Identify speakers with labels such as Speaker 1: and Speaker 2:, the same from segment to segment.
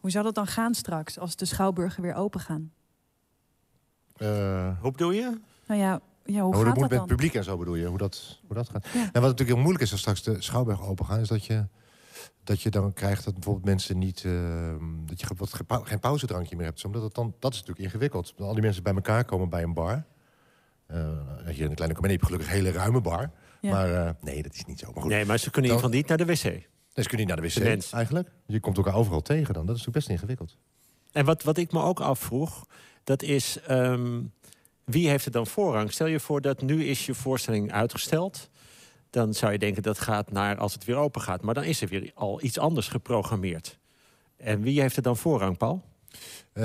Speaker 1: Hoe zou dat dan gaan straks als de schouwburgen weer open gaan?
Speaker 2: Eh,
Speaker 3: Hoe bedoel je?
Speaker 1: Nou ja, ja hoe
Speaker 2: hoe Oh, dat
Speaker 1: gaat
Speaker 2: moet
Speaker 1: dat
Speaker 2: met
Speaker 1: dan?
Speaker 2: het publiek en zo bedoel je, hoe dat, hoe dat gaat.
Speaker 1: Ja.
Speaker 2: En wat natuurlijk heel moeilijk is als straks de Schouwburg open gaan, is dat je, dat je dan krijgt dat bijvoorbeeld mensen niet, eh, dat je wat, geen pau- geen pauzedrankje meer hebt. Omdat het dan, dat is natuurlijk ingewikkeld. Al die mensen bij elkaar komen bij een bar. Eh, hier in de kleine comedie heb je gelukkig een hele ruime bar.
Speaker 1: Ja.
Speaker 2: Maar eh, nee, dat is niet zo. Maar goed,
Speaker 3: Nee, maar ze kunnen in
Speaker 2: Dan-
Speaker 3: ieder geval niet naar de wc.
Speaker 2: Nee, ze kunnen niet naar de wc
Speaker 3: De mens.
Speaker 2: eigenlijk. Je komt elkaar overal tegen dan. Dat is natuurlijk best ingewikkeld.
Speaker 3: En wat, wat ik me ook afvroeg, dat is... ehm, wie heeft er dan voorrang? Stel je voor dat nu is je voorstelling uitgesteld. Dan zou je denken dat gaat naar als het weer open gaat. Maar dan is er weer al iets anders geprogrammeerd. En wie heeft er dan voorrang, Paul?
Speaker 2: Eh,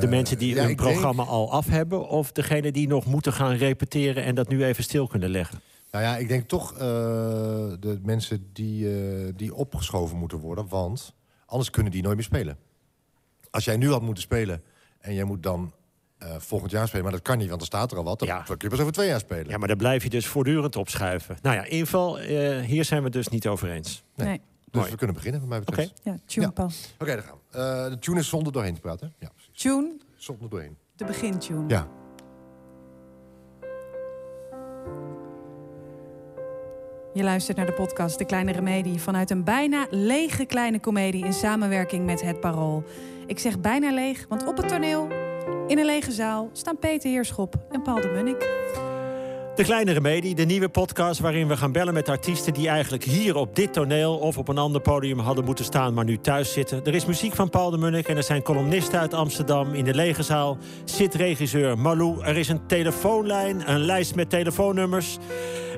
Speaker 3: De mensen die
Speaker 2: ja,
Speaker 3: hun
Speaker 2: ik denk-
Speaker 3: programma al af hebben... of degene die nog moeten gaan repeteren en dat nu even stil kunnen leggen?
Speaker 2: Nou ja, ik denk toch eh, de mensen die, eh, die opgeschoven moeten worden. Want anders kunnen die nooit meer spelen. Als jij nu had moeten spelen en jij moet dan eh, volgend jaar spelen... maar dat kan niet, want er staat er al wat. Dan
Speaker 3: Ja.
Speaker 2: kun je pas over twee jaar spelen.
Speaker 3: Ja, maar daar blijf je dus voortdurend opschuiven. Nou ja, in ieder geval, eh, hier zijn we het dus niet over eens.
Speaker 2: Nee.
Speaker 1: Nee,
Speaker 2: dus
Speaker 3: mooi.
Speaker 2: we kunnen beginnen, wat mij betreft. Oké,
Speaker 1: ja, tune
Speaker 2: Ja.
Speaker 1: Paul.
Speaker 2: daar gaan we. Eh, de tune is zonder doorheen te praten. hè? Ja, precies.
Speaker 1: Tune,
Speaker 2: Zonder doorheen.
Speaker 1: de begintune.
Speaker 2: Ja.
Speaker 1: Je luistert naar de podcast De Kleine Remedie vanuit een bijna lege kleine komedie in samenwerking met Het Parool. Ik zeg bijna leeg, want op het toneel, in een lege zaal, staan Peter Heerschop en Paul de Munnik.
Speaker 3: De Kleine Remedie, de nieuwe podcast waarin we gaan bellen met artiesten... die eigenlijk hier op dit toneel of op een ander podium hadden moeten staan... maar nu thuis zitten. Er is muziek van Paul de Munnik en er zijn columnisten uit Amsterdam. In de lege zaal zit regisseur Malou. Er is een telefoonlijn, een lijst met telefoonnummers.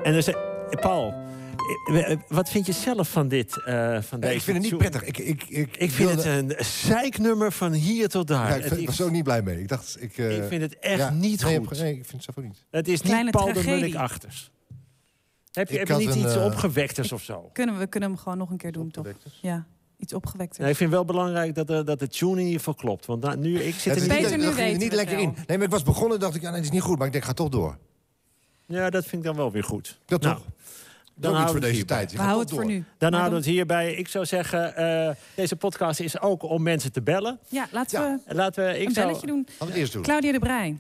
Speaker 3: En er zijn... Paul, eh, eh, wat vind je zelf van dit? eh, van
Speaker 2: Nee,
Speaker 3: deze
Speaker 2: ik vind het niet
Speaker 3: tune?
Speaker 2: prettig. Ik, ik, ik,
Speaker 3: Ik vind
Speaker 2: wilde-
Speaker 3: het een zeiknummer van hier tot daar.
Speaker 2: Ja, ik
Speaker 3: Het-
Speaker 2: vind- was ook niet blij mee. Ik dacht, ik... eh,
Speaker 3: ik vind het echt
Speaker 2: ja.
Speaker 3: niet
Speaker 2: nee,
Speaker 3: goed.
Speaker 2: heb- Nee, ik vind het zelf ook niet.
Speaker 3: Het is
Speaker 1: Kleine
Speaker 3: niet Paul de
Speaker 1: tragedie.
Speaker 3: Munnik achters. Heb je,
Speaker 2: Ik
Speaker 3: heb je
Speaker 2: had
Speaker 3: niet
Speaker 2: een,
Speaker 3: iets
Speaker 2: eh,
Speaker 3: opgewekters of zo?
Speaker 1: Kunnen we, we kunnen hem gewoon nog een keer doen, toch?
Speaker 2: Opgewektes.
Speaker 1: Ja, iets opgewekter.
Speaker 3: Nee, ik vind wel belangrijk dat, eh, dat de tune in ieder geval klopt. Want nou, nu, ik
Speaker 2: Het
Speaker 3: zit er
Speaker 2: is
Speaker 3: niet...
Speaker 1: Beter
Speaker 2: dat
Speaker 1: nu
Speaker 2: ging er
Speaker 1: weten
Speaker 2: niet
Speaker 1: we het
Speaker 2: lekker
Speaker 1: wel.
Speaker 2: in. Nee, maar ik was begonnen dacht ik, ja, nee, het is niet goed. Maar ik denk, ga toch door.
Speaker 3: Ja, dat vind ik dan wel weer goed.
Speaker 2: Dat
Speaker 3: Nou,
Speaker 2: toch?
Speaker 3: Dan
Speaker 2: Dan ook
Speaker 3: houden
Speaker 2: niet
Speaker 3: we
Speaker 2: voor deze
Speaker 3: het hierbij.
Speaker 2: tijd. Je
Speaker 1: we
Speaker 2: gaat
Speaker 1: houden het
Speaker 2: toch
Speaker 1: voor
Speaker 2: door.
Speaker 1: nu.
Speaker 3: Dan
Speaker 1: Maar
Speaker 3: houden we
Speaker 1: dan-
Speaker 3: het hierbij. Ik zou zeggen, eh, deze podcast is ook om mensen te bellen.
Speaker 1: Ja, laten
Speaker 2: Ja,
Speaker 1: we
Speaker 3: En Laten we... Ik
Speaker 1: een
Speaker 3: zou...
Speaker 1: belletje doen.
Speaker 2: Laten we het eerst doen.
Speaker 1: Claudia de Breij.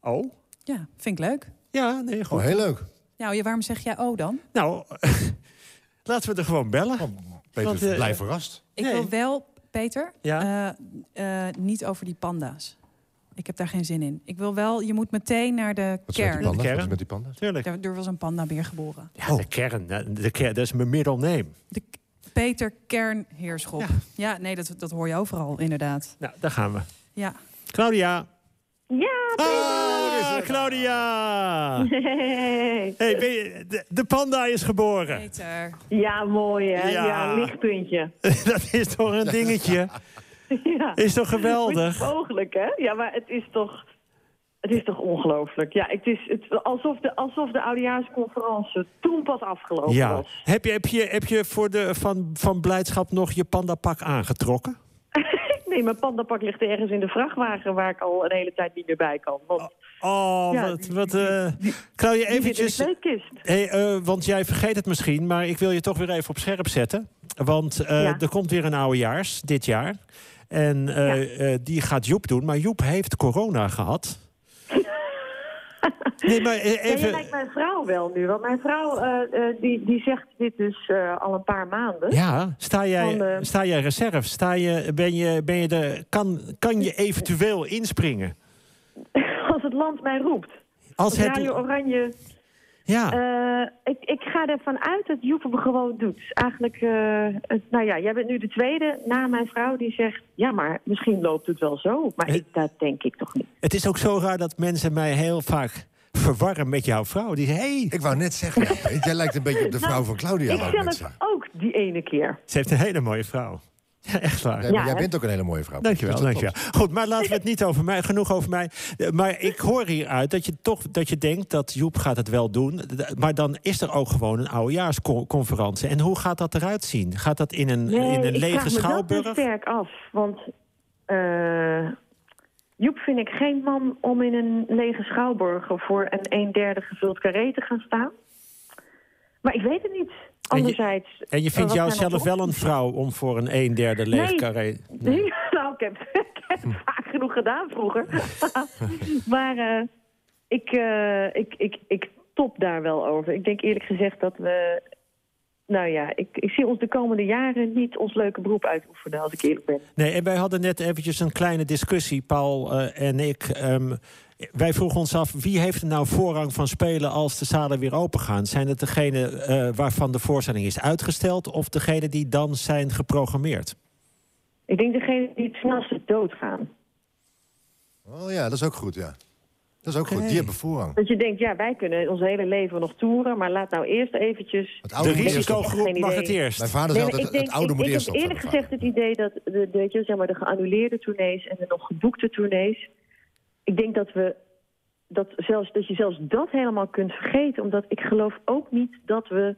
Speaker 3: Oh?
Speaker 1: Ja, vind ik leuk.
Speaker 3: Ja, nee, goed.
Speaker 2: Oh, heel leuk.
Speaker 1: Nou, je- waarom zeg jij oh dan?
Speaker 3: Nou, laten we er gewoon bellen.
Speaker 2: Oh, Peter
Speaker 3: Want,
Speaker 2: is
Speaker 3: eh,
Speaker 2: blij verrast.
Speaker 1: Ik
Speaker 3: Nee.
Speaker 1: wil wel, Peter,
Speaker 3: Ja?
Speaker 1: eh, eh, niet over die panda's. Ik heb daar geen zin in. Ik wil wel, je moet meteen naar de
Speaker 2: Wat is met die
Speaker 1: kern.
Speaker 2: panda's?
Speaker 3: Kern.
Speaker 2: Wat is met die panda's?
Speaker 3: Tuurlijk.
Speaker 1: Daar, er was een pandabeer geboren.
Speaker 3: Ja, de kern. eh, De kern, dat is mijn middle name.
Speaker 1: De K- Peter Kernheerschop. Ja,
Speaker 3: Ja.
Speaker 1: nee, dat, dat hoor je overal, inderdaad.
Speaker 3: Nou, daar gaan we.
Speaker 1: Ja.
Speaker 3: Claudia.
Speaker 4: Ja,
Speaker 3: Oh, Ah, Claudia.
Speaker 4: hey.
Speaker 3: Hey, ben je- de, de panda is geboren.
Speaker 1: Peter.
Speaker 4: ja mooi hè.
Speaker 3: Ja.
Speaker 4: Ja, lichtpuntje.
Speaker 3: Dat is toch een dingetje?
Speaker 4: Ja.
Speaker 3: Is toch geweldig?
Speaker 4: Mogelijk hè? Ja, maar het is toch, het is toch ongelooflijk. Ja, het is het, alsof de, alsof de oudejaarsconferentie toen pas afgelopen
Speaker 3: Ja.
Speaker 4: was.
Speaker 3: Heb je, heb je, heb je voor de, van, van blijdschap nog je pandapak aangetrokken?
Speaker 4: Nee, mijn pandapak ligt ergens in de vrachtwagen waar ik al een hele tijd niet meer bij kan. Want
Speaker 3: Oh,
Speaker 4: Ja,
Speaker 3: wat...
Speaker 4: die-
Speaker 3: wat eh Claudia,
Speaker 4: die zit in de
Speaker 3: eventjes...
Speaker 4: kleedkist.
Speaker 3: Hey, eh, want jij vergeet het misschien, maar ik wil je toch weer even op scherp zetten. Want eh,
Speaker 4: Ja.
Speaker 3: er komt weer een oudejaars dit jaar. En eh, eh, die gaat Joep doen, maar Joep heeft corona gehad. nee, maar eh,
Speaker 4: Ja, je
Speaker 3: even...
Speaker 4: lijkt mijn vrouw wel nu, want mijn vrouw eh, eh, die, die zegt dit dus eh, al een paar maanden.
Speaker 3: Ja, sta jij,
Speaker 4: Van de-
Speaker 3: sta jij reserve? Sta je, ben je, ben je de, kan, kan je eventueel inspringen?
Speaker 4: Als het land mij roept.
Speaker 3: Als
Speaker 4: Radio
Speaker 3: het,
Speaker 4: Oranje
Speaker 3: ja,
Speaker 4: Eh, ik, ik ga ervan uit dat Joep hem gewoon doet. Eigenlijk, eh, het- nou ja, jij bent nu de tweede na mijn vrouw die zegt... ja, maar misschien loopt het wel zo. Maar
Speaker 3: Eh.
Speaker 4: ik, dat denk ik toch niet.
Speaker 3: het is ook zo raar dat mensen mij heel vaak verwarren met jouw vrouw. Die zeggen, hey,
Speaker 2: Ik wou net zeggen, ja, Peter, jij lijkt een beetje op de vrouw van Claudia.
Speaker 4: ik
Speaker 2: wou ik net
Speaker 4: zelf
Speaker 2: zeggen.
Speaker 4: ook die ene keer.
Speaker 3: ze heeft een hele mooie vrouw. Ja, echt waar.
Speaker 2: Nee, maar
Speaker 4: Ja,
Speaker 2: jij
Speaker 4: hè?
Speaker 2: bent ook een hele mooie vrouw.
Speaker 3: Dankjewel,
Speaker 2: Dus dat
Speaker 3: dankjewel.
Speaker 2: klopt.
Speaker 3: Goed, maar laten we het niet over mij, genoeg over mij. Eh, Maar ik hoor hieruit dat je toch dat je denkt dat Joep gaat het wel doen. D- Maar dan is er ook gewoon een oudejaarsconferentie. En hoe gaat dat eruit zien? Gaat dat in een, in een
Speaker 4: ik vraag
Speaker 3: lege
Speaker 4: me dat
Speaker 3: schouwburg?
Speaker 4: dus sterk af. Want eh, Joep vind ik geen man om in een lege schouwburger... voor een een derde gevuld carré te gaan staan. Maar ik weet het niet. Anderzijds...
Speaker 3: En je vindt
Speaker 4: eh, wat zijn
Speaker 3: jouzelf
Speaker 4: onze
Speaker 3: wel een vrouw om voor een een derde leeg carré...
Speaker 4: Nee, nou, ik heb, ik heb het vaak genoeg gedaan vroeger. maar eh, ik, eh, ik, ik, ik top daar wel over. Ik denk eerlijk gezegd dat we... Nou ja, ik, ik zie ons de komende jaren niet ons leuke beroep uitoefenen, als ik eerlijk ben.
Speaker 3: Nee, en wij hadden net eventjes een kleine discussie, Paul eh, en ik. Ehm, wij vroegen ons af, wie heeft er nou voorrang van spelen als de zalen weer opengaan? Zijn het degene eh, waarvan de voorstelling is uitgesteld... of degene die dan zijn geprogrammeerd?
Speaker 4: Ik denk degene die het snelste doodgaan.
Speaker 2: Oh ja, dat is ook goed, ja. Dat is ook goed.
Speaker 3: Oké.
Speaker 2: Die hebben voorrang.
Speaker 4: Dat je denkt, ja, wij kunnen ons hele leven nog toeren... maar laat nou eerst eventjes...
Speaker 2: Het
Speaker 3: De
Speaker 2: oude moet eerst op.
Speaker 4: Nou, Ik
Speaker 3: risicogroep
Speaker 4: heb geen
Speaker 3: mag
Speaker 4: idee.
Speaker 3: het eerst.
Speaker 2: Mijn vader
Speaker 4: Nee,
Speaker 2: zei
Speaker 4: maar
Speaker 2: altijd,
Speaker 4: ik denk,
Speaker 2: het oude
Speaker 4: ik,
Speaker 2: moet
Speaker 4: ik
Speaker 2: eerst
Speaker 4: heb
Speaker 2: op.
Speaker 4: eerlijk
Speaker 2: zeggen we
Speaker 4: gezegd het idee dat de, de, weet je, zeg maar, de geannuleerde tournees en de nog geboekte tournees. Ik denk dat we dat zelfs dat je zelfs dat helemaal kunt vergeten. Omdat ik geloof ook niet dat we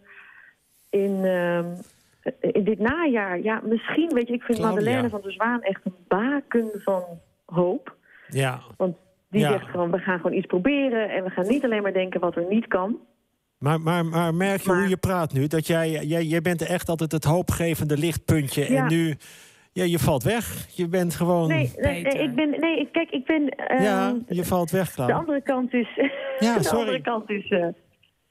Speaker 4: in, ehm, in dit najaar. Ja, misschien weet je, ik vind
Speaker 3: Claudia.
Speaker 4: Madeleine van der Zwaan echt een baken van hoop.
Speaker 3: Ja,
Speaker 4: Want die
Speaker 3: Ja.
Speaker 4: zegt gewoon, we gaan gewoon iets proberen en we gaan niet alleen maar denken wat er niet kan.
Speaker 3: maar, maar, maar merk je
Speaker 4: Maar-
Speaker 3: hoe je praat nu? Dat jij, jij, jij bent echt altijd het hoopgevende lichtpuntje.
Speaker 4: Ja.
Speaker 3: En nu, ja, je valt weg. Je bent gewoon...
Speaker 4: Nee, nee, nee,
Speaker 1: Beter.
Speaker 4: ik ben, nee, ik- kijk, ik ben. ehm,
Speaker 3: ja, je valt weg,
Speaker 4: De
Speaker 3: Klaar.
Speaker 4: andere kant is.
Speaker 3: Ja,
Speaker 4: de
Speaker 3: sorry.
Speaker 4: andere kant is. eh,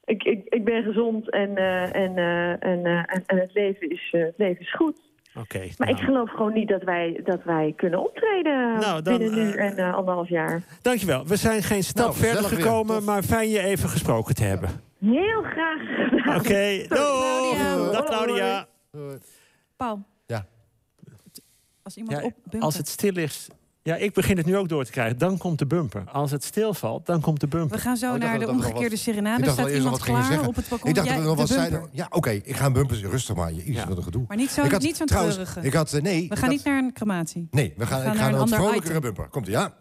Speaker 4: ik, ik, ik ben gezond en, eh, en, eh, en, eh, en, en het, leven is, eh, het leven is goed.
Speaker 3: Oké.
Speaker 4: Maar
Speaker 3: nou.
Speaker 4: ik geloof gewoon niet dat wij, dat wij kunnen optreden
Speaker 3: Nou, dan,
Speaker 4: binnen nu
Speaker 3: eh,
Speaker 4: en eh, anderhalf jaar.
Speaker 3: Dankjewel. We zijn geen stap
Speaker 2: Nou,
Speaker 3: verder
Speaker 2: gezellig weer.
Speaker 3: gekomen,
Speaker 2: Tof.
Speaker 3: maar fijn je even gesproken te hebben.
Speaker 4: Heel graag gedaan.
Speaker 3: Oké, doeg!
Speaker 1: Claudia.
Speaker 3: Dag Claudia.
Speaker 2: doen.
Speaker 1: Paul.
Speaker 2: Ja.
Speaker 1: Als iemand
Speaker 3: Ja,
Speaker 1: op opbunkt.
Speaker 3: als het stil is... Ja, ik begin het nu ook door te krijgen. Dan komt de bumper. Als het stilvalt, dan komt de
Speaker 1: We
Speaker 3: bumper.
Speaker 1: gaan zo
Speaker 2: Oh, ik dacht
Speaker 1: naar
Speaker 2: dat
Speaker 1: de
Speaker 2: er nog wat-
Speaker 1: omgekeerde
Speaker 2: Ik
Speaker 1: serenade.
Speaker 2: dacht
Speaker 1: Staat
Speaker 2: wel eerst
Speaker 1: iemand
Speaker 2: nog wat gingen
Speaker 1: klaar
Speaker 2: zeggen.
Speaker 1: op het balkon?
Speaker 2: Ik dacht
Speaker 1: Jij-
Speaker 2: dat we nog wat
Speaker 1: de bumper.
Speaker 2: zeiden. Ja, oké, ik ga een bumper. Rustig maar, je iets
Speaker 3: Ja.
Speaker 2: wilde gedoe.
Speaker 1: Maar niet zo'n
Speaker 2: Ik had-
Speaker 1: niet zo'n
Speaker 2: trouwens,
Speaker 1: treurige.
Speaker 2: Ik had, eh, nee,
Speaker 1: we
Speaker 2: ik
Speaker 1: gaan
Speaker 2: had-
Speaker 1: niet naar een crematie.
Speaker 2: Nee, we
Speaker 1: gaan
Speaker 2: gaan, ik
Speaker 1: naar
Speaker 2: ga
Speaker 1: een
Speaker 2: naar een
Speaker 1: ander
Speaker 2: vrolijkere
Speaker 1: item.
Speaker 2: bumper. Komt ie, ja.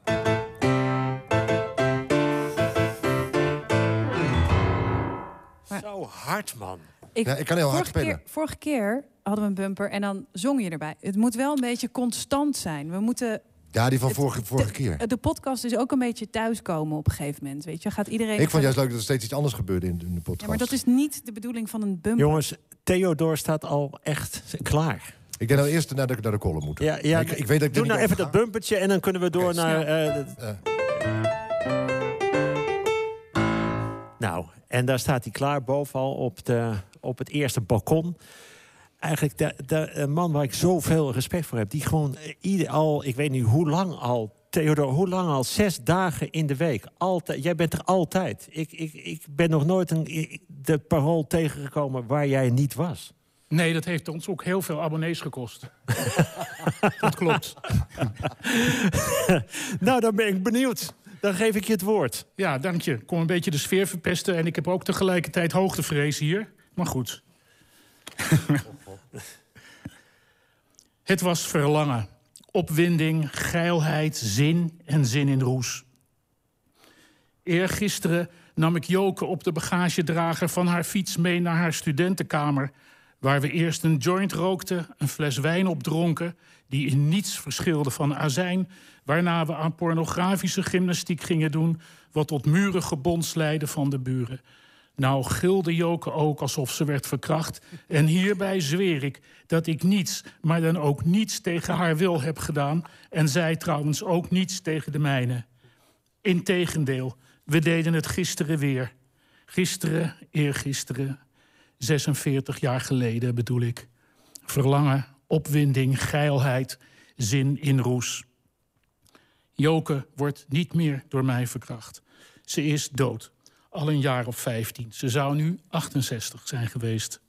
Speaker 1: Maar-
Speaker 3: Zo hard, man.
Speaker 2: Ja, ik kan heel hard
Speaker 1: vorige, keer,
Speaker 2: spelen.
Speaker 1: vorige keer hadden we een bumper en dan zong je erbij. Het moet wel een beetje constant zijn. We moeten,
Speaker 2: Ja, die van vorige,
Speaker 1: het-
Speaker 2: vorige
Speaker 1: de-
Speaker 2: keer.
Speaker 1: de podcast is ook een beetje thuiskomen op een gegeven moment. Weet je, gaat iedereen.
Speaker 2: Ik vond juist leuk dat er steeds iets anders gebeurde in, in de podcast.
Speaker 1: Ja, maar dat is niet de bedoeling van een bumper.
Speaker 3: Jongens, Theodor staat al echt klaar.
Speaker 2: Ik denk dat we eerst naar de, naar de column moeten.
Speaker 3: Ja, ja,
Speaker 2: ik, ik weet dat ik
Speaker 3: Doe
Speaker 2: er
Speaker 3: nou
Speaker 2: niet over
Speaker 3: even dat bumpertje en dan kunnen we door
Speaker 2: Oké,
Speaker 3: naar... eh,
Speaker 2: ga. Eh,
Speaker 3: Nou, en daar staat hij klaar bovenal op, de, op het eerste balkon. Eigenlijk de, de een man waar ik zoveel respect voor heb, die gewoon eh, ieder al, ik weet niet hoe lang al, Theodor, hoe lang al, zes dagen in de week. Altijd, jij bent er altijd. Ik, ik, ik ben nog nooit een, ik- de parool tegengekomen waar jij niet was.
Speaker 5: Nee, dat heeft ons ook heel veel abonnees gekost. dat klopt.
Speaker 3: Nou, dan ben ik benieuwd. Dan geef ik je het woord.
Speaker 5: Ja, dank je. Ik kon een beetje de sfeer verpesten. En ik heb ook tegelijkertijd hoogtevrees hier. Maar goed. Het was verlangen. Opwinding, geilheid, zin en zin in roes. Eergisteren nam ik Joke op de bagagedrager van haar fiets mee naar haar studentenkamer... waar we eerst een joint rookten, een fles wijn opdronken... die in niets verschilde van azijn... waarna we aan pornografische gymnastiek gingen doen... wat tot muren gebonds leidde van de buren. Nou gilde Joke ook alsof ze werd verkracht. En hierbij zweer ik dat ik niets, maar dan ook niets tegen haar wil heb gedaan... en zij trouwens ook niets tegen de mijne. Integendeel, we deden het gisteren weer. Gisteren, eergisteren, 46 jaar geleden bedoel ik. Verlangen, opwinding, geilheid, zin in roes. Joke wordt niet meer door mij verkracht. Ze is dood, al een jaar of 15. Ze zou nu 68 zijn geweest.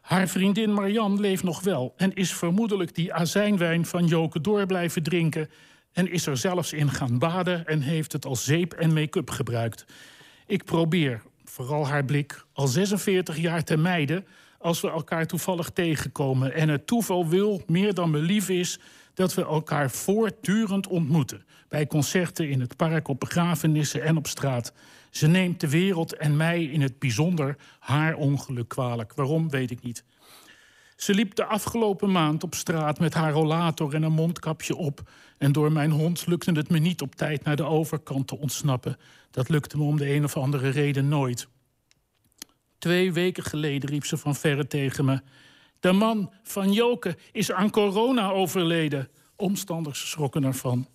Speaker 5: Haar vriendin Marianne leeft nog wel en is vermoedelijk die azijnwijn van Joke door blijven drinken. En is er zelfs in gaan baden en heeft het als zeep en make-up gebruikt. Ik probeer, vooral haar blik, al 46 jaar te mijden als we elkaar toevallig tegenkomen. En het toeval wil, meer dan me lief is, dat we elkaar voortdurend ontmoeten. Bij concerten in het park, op begrafenissen en op straat. Ze neemt de wereld en mij in het bijzonder haar ongeluk kwalijk. Waarom, weet ik niet. Ze liep de afgelopen maand op straat met haar rollator en een mondkapje op. En door mijn hond lukte het me niet op tijd naar de overkant te ontsnappen. Dat lukte me om de een of andere reden nooit. Twee weken geleden riep ze van verre tegen me. De man van Joke is aan corona overleden. Omstanders schrokken ervan.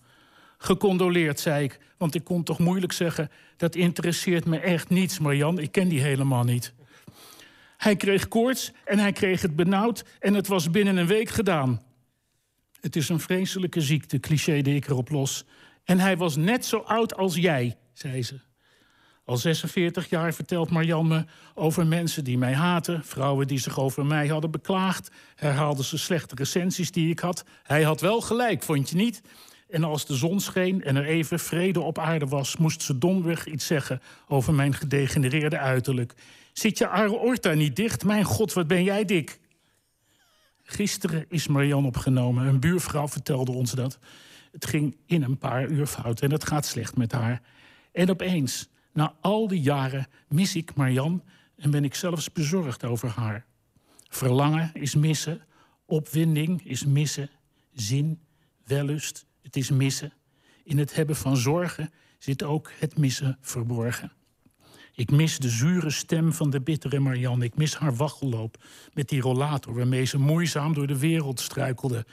Speaker 5: Gecondoleerd, zei ik, want ik kon toch moeilijk zeggen... dat interesseert me echt niets, Marjan, ik ken die helemaal niet. Hij kreeg koorts en hij kreeg het benauwd en het was binnen een week gedaan. Het is een vreselijke ziekte, cliché deed ik erop los. En hij was net zo oud als jij, zei ze. Al 46 jaar vertelt Marjan me over mensen die mij haten... vrouwen die zich over mij hadden beklaagd... herhaalde ze slechte recensies die ik had. Hij had wel gelijk, vond je niet? En als de zon scheen en er even vrede op aarde was... moest ze domweg iets zeggen over mijn gedegenereerde uiterlijk. Zit je aorta niet dicht? Mijn god, wat ben jij dik. Gisteren is Marianne opgenomen. Een buurvrouw vertelde ons dat. Het ging in een paar uur fout en het gaat slecht met haar. En opeens, na al die jaren, mis ik Marianne... en ben ik zelfs bezorgd over haar. Verlangen is missen, opwinding is missen... zin, wellust, het is missen. In het hebben van zorgen zit ook het missen verborgen. Ik mis de zure stem van de bittere Marianne. Ik mis haar waggelloop met die rollator waarmee ze moeizaam door de wereld struikelde.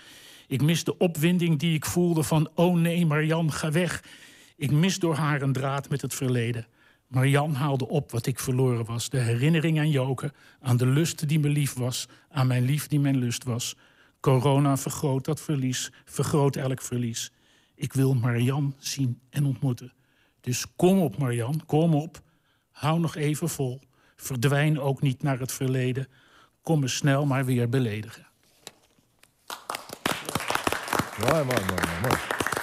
Speaker 5: Ik mis de opwinding die ik voelde van: oh nee, Marianne, ga weg. Ik mis door haar een draad met het verleden. Marianne haalde op wat ik verloren was: de herinnering aan Joke, aan de lust die me lief was, aan mijn lief die mijn lust was. Corona vergroot dat verlies, vergroot elk verlies. Ik wil Marianne zien en ontmoeten. Dus kom op, Marianne, kom op. Hou nog even vol. Verdwijn ook niet naar het verleden. Kom me snel maar weer beledigen.
Speaker 2: Mooi, mooi, mooi, mooi, mooi.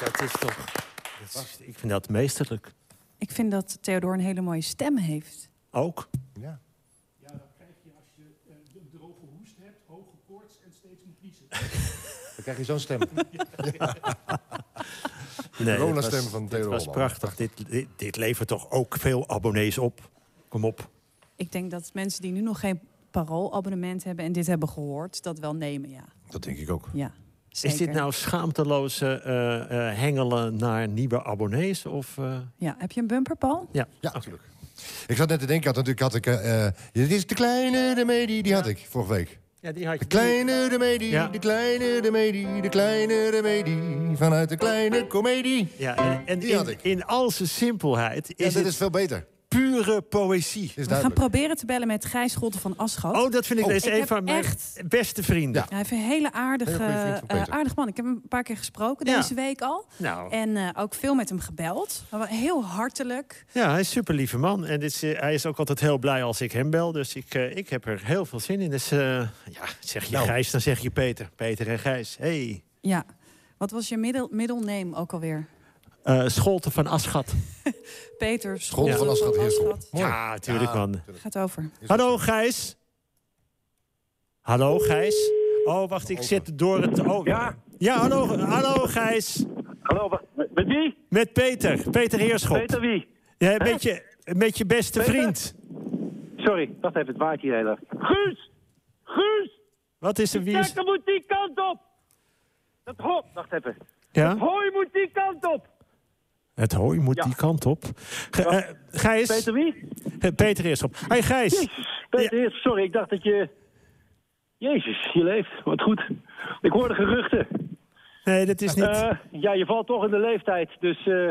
Speaker 3: Dat is toch... dat is- ik vind dat meesterlijk.
Speaker 1: Ik vind dat Theodor een hele mooie stem heeft.
Speaker 3: Ook.
Speaker 2: Ja.
Speaker 5: Ja, dat krijg je als je een droge hoest hebt, hoge koorts en steeds moet niezen.
Speaker 2: Dan krijg je zo'n stem.
Speaker 3: Nee,
Speaker 2: Corona
Speaker 3: dit was-
Speaker 2: stem van
Speaker 3: Dit
Speaker 2: Theodor
Speaker 3: was
Speaker 2: Holland.
Speaker 3: prachtig. Dit, dit, dit levert toch ook veel abonnees op. Kom op.
Speaker 1: Ik denk dat mensen die nu nog geen parooalabonnement hebben en dit hebben gehoord, dat wel nemen, ja.
Speaker 2: Dat denk ik ook.
Speaker 1: ja zeker.
Speaker 3: Is dit nou schaamteloze eh, eh, hengelen naar nieuwe abonnees? Of, eh,
Speaker 1: Ja, heb je een bumper, Paul?
Speaker 3: ja.
Speaker 2: Ja, natuurlijk. Ik zat net te denken, ik had natuurlijk had ik. eh, eh, dit is de kleine de medie, die had ik vorige week.
Speaker 3: ja, die had
Speaker 2: De
Speaker 3: je.
Speaker 2: kleine de medie,
Speaker 3: Ja.
Speaker 2: de kleine de medie, de kleine de medie. Vanuit de kleine komedie.
Speaker 3: Ja, en, en
Speaker 2: Die had
Speaker 3: in,
Speaker 2: ik.
Speaker 3: in al zijn simpelheid
Speaker 2: Ja, dit
Speaker 3: is het
Speaker 2: is veel beter.
Speaker 3: pure poëzie.
Speaker 2: Is
Speaker 1: We gaan
Speaker 2: duidelijk.
Speaker 1: proberen te bellen met Gijs Scholten van Aschat.
Speaker 3: Oh, dat vind ik,
Speaker 2: Oh.
Speaker 3: deze
Speaker 1: Ik
Speaker 3: een
Speaker 1: heb
Speaker 3: van mijn
Speaker 1: echt-
Speaker 3: beste vrienden.
Speaker 2: Ja.
Speaker 1: Ja, hij heeft een hele aardige,
Speaker 2: Hele goede vriend van
Speaker 1: eh,
Speaker 2: Peter.
Speaker 1: aardig man. Ik heb hem een paar keer gesproken
Speaker 3: Ja.
Speaker 1: deze week al.
Speaker 3: Nou,
Speaker 1: En eh, ook veel met hem gebeld. Maar wel Heel hartelijk.
Speaker 3: ja, hij is een super lieve man. En dit is, eh, hij is ook altijd heel blij als ik hem bel. Dus ik, eh, ik heb er heel veel zin in. Dus eh, ja, zeg je
Speaker 2: Nou.
Speaker 3: Gijs, dan zeg je Peter. Peter en Gijs. Hey.
Speaker 1: Ja. Wat was je middel, middelname ook alweer?
Speaker 3: Eh, Scholten van Aschat.
Speaker 1: Peter Scholten.
Speaker 2: School van Aschat Heersel. Mooi.
Speaker 3: Ja, natuurlijk
Speaker 2: Ja.
Speaker 3: man.
Speaker 1: Gaat over.
Speaker 3: Hallo Gijs. Hallo Gijs. Oh, wacht, ik zit door het... Oh,
Speaker 6: Ja?
Speaker 3: Ja, hallo, hallo Gijs.
Speaker 6: Hallo, wa- met wie?
Speaker 3: Met Peter. Peter Heerschop.
Speaker 6: Peter wie?
Speaker 3: Ja, met, je, met je beste
Speaker 6: Peter?
Speaker 3: vriend.
Speaker 6: Sorry, wacht even, het waait hier heel erg. Guus! Guus!
Speaker 3: Wat is er? Wie is...
Speaker 6: Dekker moet die kant op! Dat hop, wacht even.
Speaker 3: Ja?
Speaker 6: Hooi moet die kant op!
Speaker 3: Het hooi moet
Speaker 6: Ja.
Speaker 3: die kant op. Ge- eh, Gijs. Peter,
Speaker 6: Peter wie?
Speaker 3: Eh, Peter Heerschop. Hey Gijs.
Speaker 6: Peter Heers, sorry, ik dacht dat je... Jezus, je leeft, wat goed. Ik hoorde geruchten.
Speaker 3: Nee, dat is niet...
Speaker 6: Eh, ja, je valt toch in de leeftijd, dus... eh,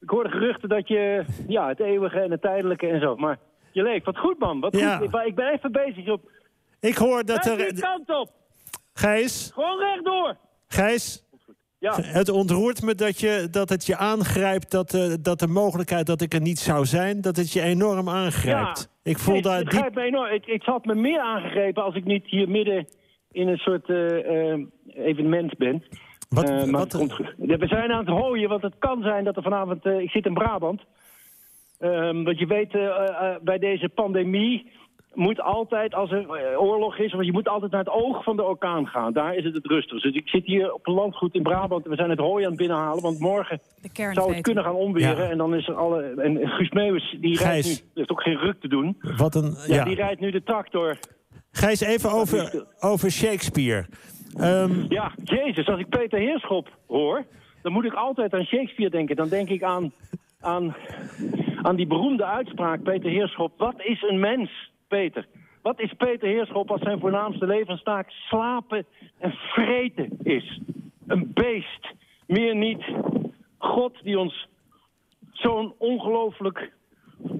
Speaker 6: ik hoorde geruchten dat je... Ja, het eeuwige en het tijdelijke en zo, maar... Je leeft, wat goed man, wat
Speaker 3: Ja.
Speaker 6: goed. Ik, ben- ik ben even bezig op...
Speaker 3: ik hoor dat
Speaker 6: Kijk die
Speaker 3: er...
Speaker 6: kant op!
Speaker 3: Gijs.
Speaker 6: Gewoon rechtdoor!
Speaker 3: Gijs.
Speaker 6: Ja.
Speaker 3: Het ontroert me dat, je, dat het je aangrijpt, dat, eh, dat de mogelijkheid dat ik er niet zou zijn, dat het je enorm aangrijpt. Ik voel
Speaker 6: Nee,
Speaker 3: daar
Speaker 6: het
Speaker 3: diep
Speaker 6: grijpt me enorm. Het, het had me meer aangegrepen als ik niet hier midden in een soort eh, eh, evenement ben.
Speaker 3: Wat,
Speaker 6: Eh, maar
Speaker 3: wat-
Speaker 6: het komt goed. Ja, we zijn aan het hooien, want het kan zijn dat er vanavond... eh, ik zit in Brabant. Ehm, want je weet, eh, eh, bij deze pandemie moet altijd, als er eh, oorlog is... want je moet altijd naar het oog van de orkaan gaan. Daar is het het rustigst. Dus ik zit hier op een landgoed in Brabant en we zijn het hooi aan het binnenhalen. Want morgen
Speaker 1: De kern.
Speaker 6: zou het
Speaker 1: Peter.
Speaker 6: kunnen gaan omweren.
Speaker 3: Ja.
Speaker 6: En dan is er alle... En Guus Meeuwis, die rijdt nu...
Speaker 3: Gijs.
Speaker 6: Er is ook geen ruk te doen.
Speaker 3: wat een.
Speaker 6: Ja,
Speaker 3: Ja.
Speaker 6: die rijdt nu de tractor.
Speaker 3: Gijs, even over, over Shakespeare. Ehm,
Speaker 6: Ja, jezus, als ik Peter Heerschop hoor, dan moet ik altijd aan Shakespeare denken. Dan denk ik aan, aan, aan die beroemde uitspraak, Peter Heerschop. Wat is een mens? Peter. Wat is Peter Heerschop als zijn voornaamste levenstaak slapen en vreten is? Een beest, meer niet. God die ons zo'n ongelooflijk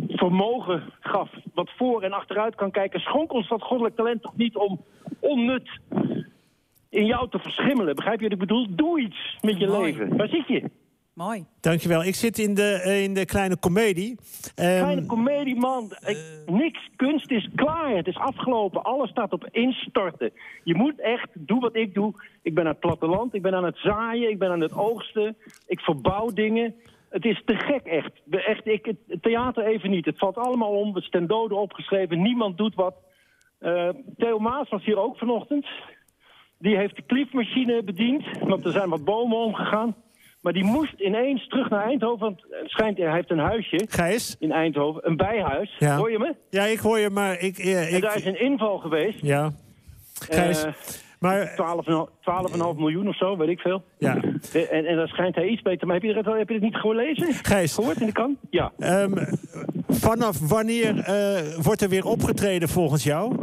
Speaker 6: vermogen gaf, wat voor en achteruit kan kijken, schonk ons dat goddelijk talent toch niet om onnut in jou te verschimmelen. Begrijp je wat ik bedoel? Doe iets met je
Speaker 1: Mooi.
Speaker 6: leven. Waar zit je?
Speaker 1: Mooi.
Speaker 3: Dankjewel. Ik zit in de, eh, in de kleine komedie. Ehm,
Speaker 6: Kleine komedie, man. Ik- niks. Kunst is klaar. Het is afgelopen. Alles staat op instorten. Je moet echt doen wat ik doe. Ik ben aan het platteland. Ik ben aan het zaaien. Ik ben aan het oogsten. Ik verbouw dingen. Het is te gek, echt. De- echt ik, het- het theater even niet. Het valt allemaal om. Het is ten dode opgeschreven. Niemand doet wat. Eh, Theo Maas was hier ook vanochtend. Die heeft de kliefmachine bediend, want er zijn wat bomen omgegaan. Maar die moest ineens terug naar Eindhoven, want het schijnt, hij heeft een huisje
Speaker 3: Gijs?
Speaker 6: in Eindhoven, een bijhuis.
Speaker 3: Ja.
Speaker 6: Hoor je me?
Speaker 3: Ja, ik hoor je, maar ik... eh,
Speaker 6: En daar is
Speaker 3: ik
Speaker 6: een inval geweest.
Speaker 3: ja. Gijs,
Speaker 6: Eh,
Speaker 3: maar...
Speaker 6: 12,5 12,5
Speaker 3: eh.
Speaker 6: miljoen of zo, weet ik veel. Eh,
Speaker 3: Ja.
Speaker 6: En, en daar schijnt hij iets beter. Maar heb je het, heb je het niet gelezen?
Speaker 3: Gijs.
Speaker 6: Gehoord in de krant? Ja.
Speaker 3: ehm, vanaf wanneer eh, wordt er weer opgetreden volgens jou?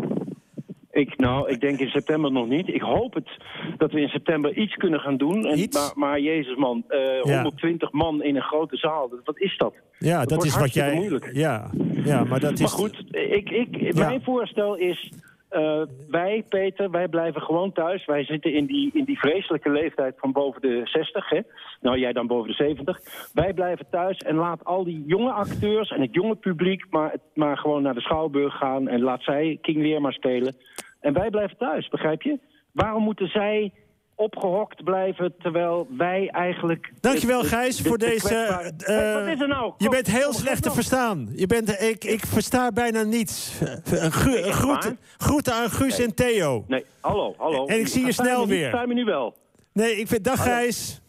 Speaker 6: Ik, nou, ik denk in september nog niet. Ik hoop het dat we in september iets kunnen gaan doen. En,
Speaker 3: Iets?
Speaker 6: Maar, maar jezus man, eh, 120 man in een grote zaal, dat- wat is dat?
Speaker 3: Ja, dat,
Speaker 6: wordt
Speaker 3: is wat
Speaker 6: hartstikke
Speaker 3: jij...
Speaker 6: moeilijk.
Speaker 3: Ja, ja, maar dat is...
Speaker 6: Maar goed, ik, ik,
Speaker 3: Ja.
Speaker 6: mijn voorstel is... eh, wij, Peter, wij blijven gewoon thuis. Wij zitten in die, in die vreselijke leeftijd van boven de 60, hè? Nou, jij dan boven de 70. Wij blijven thuis en laat al die jonge acteurs en het jonge publiek... maar, maar gewoon naar de Schouwburg gaan en laat zij King Lear maar spelen. En wij blijven thuis, begrijp je? Waarom moeten zij opgehokt blijven terwijl wij eigenlijk...
Speaker 3: Dankjewel
Speaker 6: de- de-
Speaker 3: Gijs
Speaker 6: de-
Speaker 3: voor
Speaker 6: de
Speaker 3: deze...
Speaker 6: kwetsbare-
Speaker 3: eh,
Speaker 6: Hey, wat is er nou?
Speaker 3: Je
Speaker 6: Kom,
Speaker 3: bent heel
Speaker 6: kom,
Speaker 3: slecht te
Speaker 6: kom.
Speaker 3: verstaan. Je bent, ik, ik versta bijna niets. Eh, een gro-
Speaker 6: echt
Speaker 3: groeten- groeten aan Guus en Theo.
Speaker 6: Nee, hallo, hallo.
Speaker 3: En ik zie je
Speaker 6: Sta
Speaker 3: snel
Speaker 6: me niet,
Speaker 3: weer.
Speaker 6: Sta me nu wel.
Speaker 3: Nee, ik vind... Dag Gijs.